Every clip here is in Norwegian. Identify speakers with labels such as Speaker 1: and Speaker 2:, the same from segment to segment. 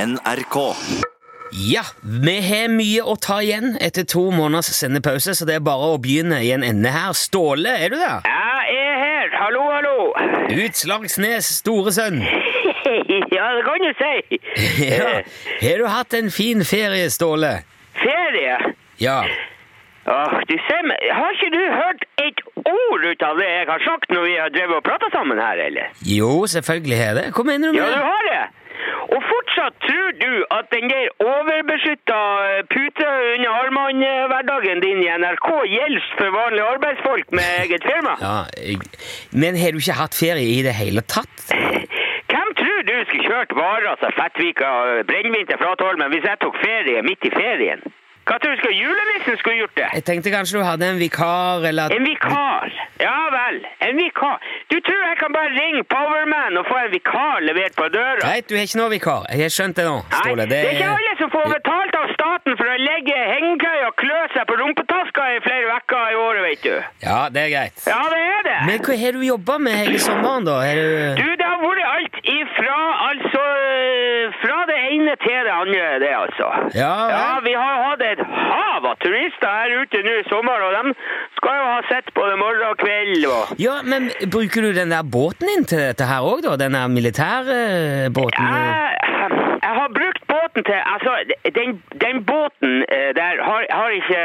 Speaker 1: NRK.
Speaker 2: Ja, vi har mye å ta igjen etter to måneders sendepause, så det er bare å begynne i en ende her. Ståle, er du der?
Speaker 3: Ja, jeg er her. Hallo, hallo.
Speaker 2: Utslagsnes, store sønn.
Speaker 3: ja, det kan du si. Eh,
Speaker 2: Ja. Har du hatt en fin ferie, Ståle?
Speaker 3: Ferie.
Speaker 2: Ja.
Speaker 3: Åh, du ser meg. Har ikke du hørt et ord ut av det jeg har sagt når vi har drevet og pratet sammen her, eller?
Speaker 2: Jo, selvfølgelig har jeg det. Hva mener du
Speaker 3: Ja,
Speaker 2: med
Speaker 3: du
Speaker 2: det?
Speaker 3: har det. Og fortsatt tror du at den der overbeskytta pute under armene-hverdagen din i NRK gjelder for vanlige arbeidsfolk med eget firma?
Speaker 2: Ja, jeg- men har du ikke hatt ferie i det hele tatt?
Speaker 3: Hvem tror du skulle kjørt varer fra Fettvika og brennevin til Flatholmen hvis jeg tok ferie midt i ferien? Hva tror du skal julenissen skulle gjort det?
Speaker 2: Jeg tenkte kanskje du hadde en vikar, eller at
Speaker 3: En vikar. Ja vel, en vikar. Du tror jeg kan bare ringe Powerman og få en vikar levert på døra?
Speaker 2: Greit, du har ikke noe vikar. Jeg har skjønt det nå,
Speaker 3: Nei,
Speaker 2: Ståle.
Speaker 3: det er ikke alle som får betalt av staten for å legge hengekøy og klø seg på rumpetaska i flere uker i året, vet du.
Speaker 2: Ja, det er greit.
Speaker 3: Ja, det er det.
Speaker 2: Men hva har du jobba med hele sommeren, da? Har du...
Speaker 3: Du, det har vært alt ifra altså eh, Fra det ene til det andre, det, altså.
Speaker 2: Ja, vel.
Speaker 3: vi har hatt et hav av turister her ute nå i sommer, og de skal jo ha sett både morgen og kveld og
Speaker 2: Ja, men bruker du den der båten din til dette her òg, da? Den der militære båten?
Speaker 3: Jeg, jeg har brukt båten til Altså, den, den båten eh, der har, har ikke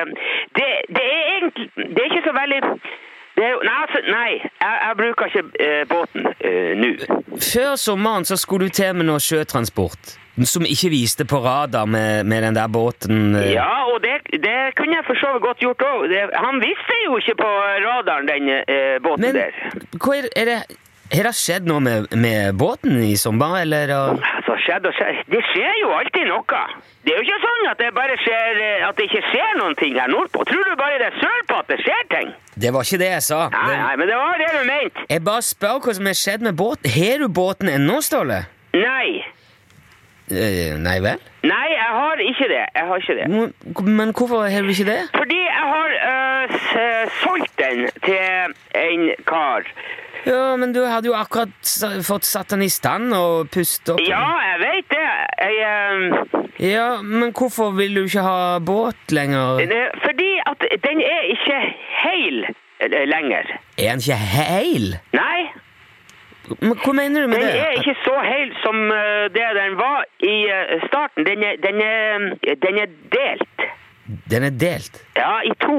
Speaker 3: det, det er egentlig Det er ikke så veldig det er, jo- Nei, altså, nei jeg, jeg bruker ikke eh, båten eh, nå.
Speaker 2: Før sommeren så skulle du til med noe sjøtransport som ikke viste på radar med, med den der båten. eh.
Speaker 3: Ja, og det, det kunne jeg for så vidt godt gjort òg. Han visste jo ikke på radaren, den eh, båten
Speaker 2: Men
Speaker 3: der.
Speaker 2: hva er, er det Har det skjedd noe med, med båten i sommer, eller? da?
Speaker 3: Altså, skjedd og skjedd. Det skjer jo alltid noe. Det er jo ikke sånn at det bare skjer eh, At det ikke skjer noen ting her nordpå. Tror du bare det er sørpå at det skjer ting?
Speaker 2: Det var ikke det jeg sa.
Speaker 3: Nei,
Speaker 2: Det-
Speaker 3: nei, men det var det du mente.
Speaker 2: Jeg bare spør hva som har skjedd med båten. Har du båten ennå, Ståle?
Speaker 3: Nei.
Speaker 2: Eh, nei vel?
Speaker 3: Nei, jeg har ikke det. Jeg har ikke det.
Speaker 2: Mo- Men hvorfor har du ikke det?
Speaker 3: Fordi jeg har eh, s- solgt den til en kar.
Speaker 2: Ja, men du hadde jo akkurat sa- fått satt den i stand og pustet opp.
Speaker 3: Ja, jeg vet det. Jeg, eh,
Speaker 2: Ja, men hvorfor vil du ikke ha båt lenger?
Speaker 3: det- fordi at den er ikke heil eh, lenger.
Speaker 2: Er han ikke heil?
Speaker 3: Nei,
Speaker 2: Men hva mener du med
Speaker 3: den
Speaker 2: det?
Speaker 3: er ikke så heil som eh, det den var i eh, starten. Den er, den er, den er delt.
Speaker 2: Den er delt.
Speaker 3: Ja, i to.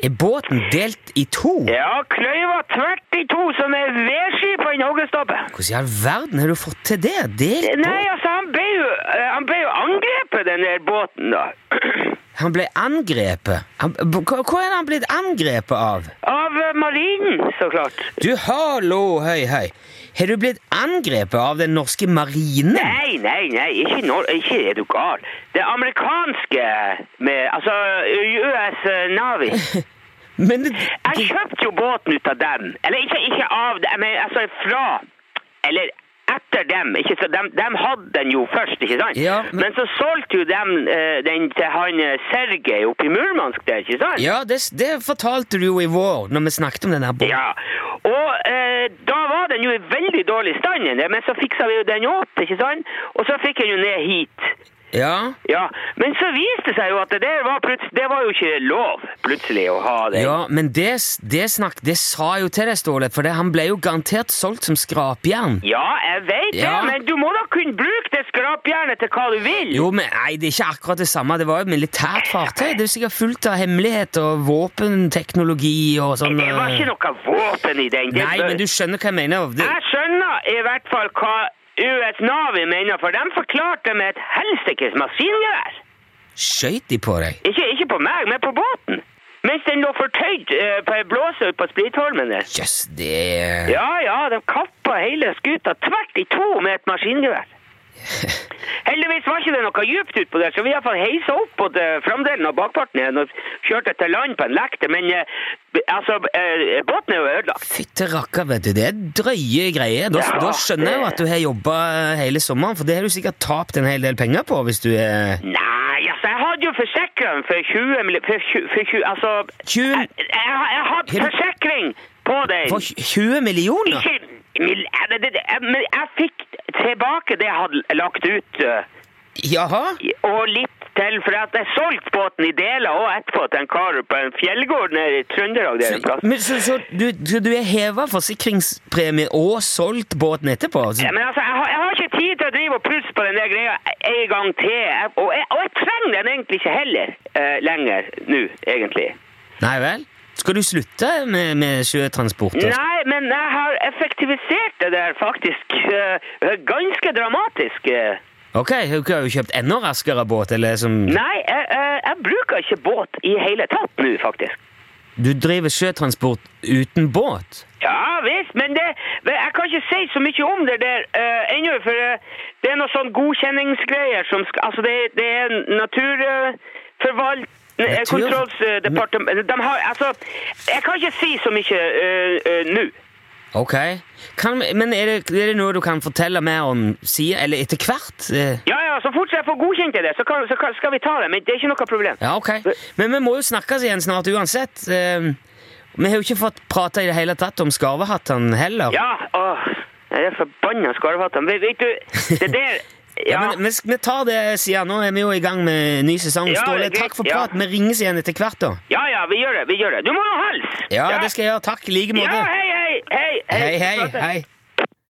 Speaker 2: Er båten delt i to?
Speaker 3: Ja, kløyva tvert i to, som er vedski på en hoggestoppe.
Speaker 2: Hvordan i all verden har du fått til det? Delt
Speaker 3: Nei,
Speaker 2: båt?
Speaker 3: altså, han ble jo, eh, han ble jo angrepet, den der båten, da.
Speaker 2: Han ble angrepet. Han, b- hva hva er han blitt angrepet av?
Speaker 3: Av eh, marinen, så klart.
Speaker 2: Du, hallo, høy, høy. Har du blitt angrepet av den norske marinen?
Speaker 3: Nei, nei, nei, ikke, nor ikke er du gal. Det amerikanske med Altså, US Navy.
Speaker 2: Men det,
Speaker 3: Jeg kjøpte jo båten ut av dem. Eller ikke, ikke av dem, men altså fra Eller etter dem. Ikke, så dem, dem hadde den jo først, ikke sant?
Speaker 2: Ja, men-
Speaker 3: men... så solgte jo dem eh, den til han eh, Sergej oppe i Murmansk der, ikke sant?
Speaker 2: ja, det, s- det fortalte du jo i vår, når vi snakket om den her båten.
Speaker 3: Ja, og eh, da var den jo i veldig dårlig stand, den der, men så fiksa vi jo den opp, ikke sant? Og så fikk den jo ned hit.
Speaker 2: Ja,
Speaker 3: Ja, men så viste det seg jo at det der var, plutselig, det var jo ikke lov, plutselig, å ha det.
Speaker 2: ja men det, s- det snakk, det sa jeg jo til deg, Ståle, for det, han ble jo garantert solgt som skrapjern.
Speaker 3: Ja, jeg vet
Speaker 2: Ja.
Speaker 3: det, men du må da kunne bruke det skrapjernet til hva du vil.
Speaker 2: Jo, men nei, det er ikke akkurat det samme. Det var jo et militært fartøy. Det er jo sikkert fullt av hemmeligheter og våpenteknologi og sånn.
Speaker 3: det var
Speaker 2: eh.
Speaker 3: ikke noe våpen i den. Det
Speaker 2: Nei,
Speaker 3: bør-
Speaker 2: men du skjønner hva jeg mener. Det,
Speaker 3: Jeg skjønner i hvert fall hva US Navy mener, for de forklarte med et helsikes maskingevær.
Speaker 2: skjøt de på deg?
Speaker 3: Ikke, ikke på meg, men på båten. Mens den lå fortøyd eh, på ei blåse ute på Splitholmen der.
Speaker 2: Jøss, det
Speaker 3: Ja, ja, de kappa hele skuta tvert i to med et maskingevær. Heldigvis var ikke det noe djupt utpå der, så vi iallfall heisa opp både framdelen og bakparten igjen og kjørte til land på en lekte, men eh, b- altså, eh, båten er jo ødelagt.
Speaker 2: Fytte rakker, vet du. Det er drøye greier. Da,
Speaker 3: Ja,
Speaker 2: da skjønner jeg jo
Speaker 3: det-
Speaker 2: at du har jobba hele sommeren, for det har du sikkert tapt en hel del penger på hvis du er
Speaker 3: Nei, altså, jeg hadde jo forsikra den for 20 mill... For, tju- for 20 Altså,
Speaker 2: 20,
Speaker 3: jeg, jeg, jeg hadde
Speaker 2: Hel-
Speaker 3: forsikring på den.
Speaker 2: For 20 millioner?
Speaker 3: Ikke mill... eh, det- det- det- Men jeg fikk tilbake det jeg hadde lagt ut eh,
Speaker 2: Jaha?
Speaker 3: Og litt til, for at jeg solgte båten i deler og etterpå til en kar på en fjellgård nede i Trøndelag. der en plass.
Speaker 2: Men, så, så, du, så du har heva forsikringspremie og solgt båten etterpå? Så,
Speaker 3: Ja, men altså, jeg har, jeg har ikke tid til å drive og pusse på den der greia en gang til. Jeg- Og jeg, og jeg trenger den egentlig ikke heller eh, lenger nå, egentlig.
Speaker 2: Nei vel? Skal du slutte med, med sjøtransport? og-
Speaker 3: Nei, men jeg har effektivisert det der faktisk eh, ganske dramatisk. eh.
Speaker 2: Ok, hun har jo kjøpt enda raskere båt, eller som
Speaker 3: Nei, jeg, jeg, jeg bruker ikke båt i hele tatt nå, faktisk.
Speaker 2: Du driver sjøtransport uten båt?
Speaker 3: Ja visst, men det, men jeg kan ikke si så mye om det der eh, ennå, for eh, det er noe sånn godkjenningsgreier som skal Altså, det, det er eh,
Speaker 2: Natur-
Speaker 3: naturforvaltningskontrollsdepartementet eh, De har Altså, jeg kan ikke si så mye eh, eh, nå.
Speaker 2: Ok. Kan, men er det, er det noe du kan fortelle mer om siden, eller etter hvert? Eh,
Speaker 3: Ja ja, så fort jeg får godkjent det, så, kan, så kan, skal vi ta det. Men det er ikke noe problem.
Speaker 2: Ja, ok. Men vi må jo snakkes igjen snart uansett. Eh, Vi har jo ikke fått prate i det hele tatt om skarvehattene heller.
Speaker 3: Ja, åh. Jeg er forbanna skarvhattene. Vet, vet du, det der
Speaker 2: Ja, men vi, vi tar det siden. Nå er vi jo i gang med ny sesong.
Speaker 3: Ja,
Speaker 2: Ståle,
Speaker 3: det er greit.
Speaker 2: takk for
Speaker 3: Ja.
Speaker 2: praten. Vi ringes igjen etter hvert, da.
Speaker 3: Ja ja, vi gjør det. Vi gjør det. Du må nå helse!
Speaker 2: Ja, det skal jeg gjøre. Takk i like
Speaker 3: Ja,
Speaker 2: måte.
Speaker 3: hei, hei! Hei,
Speaker 2: Hei, hei. hei.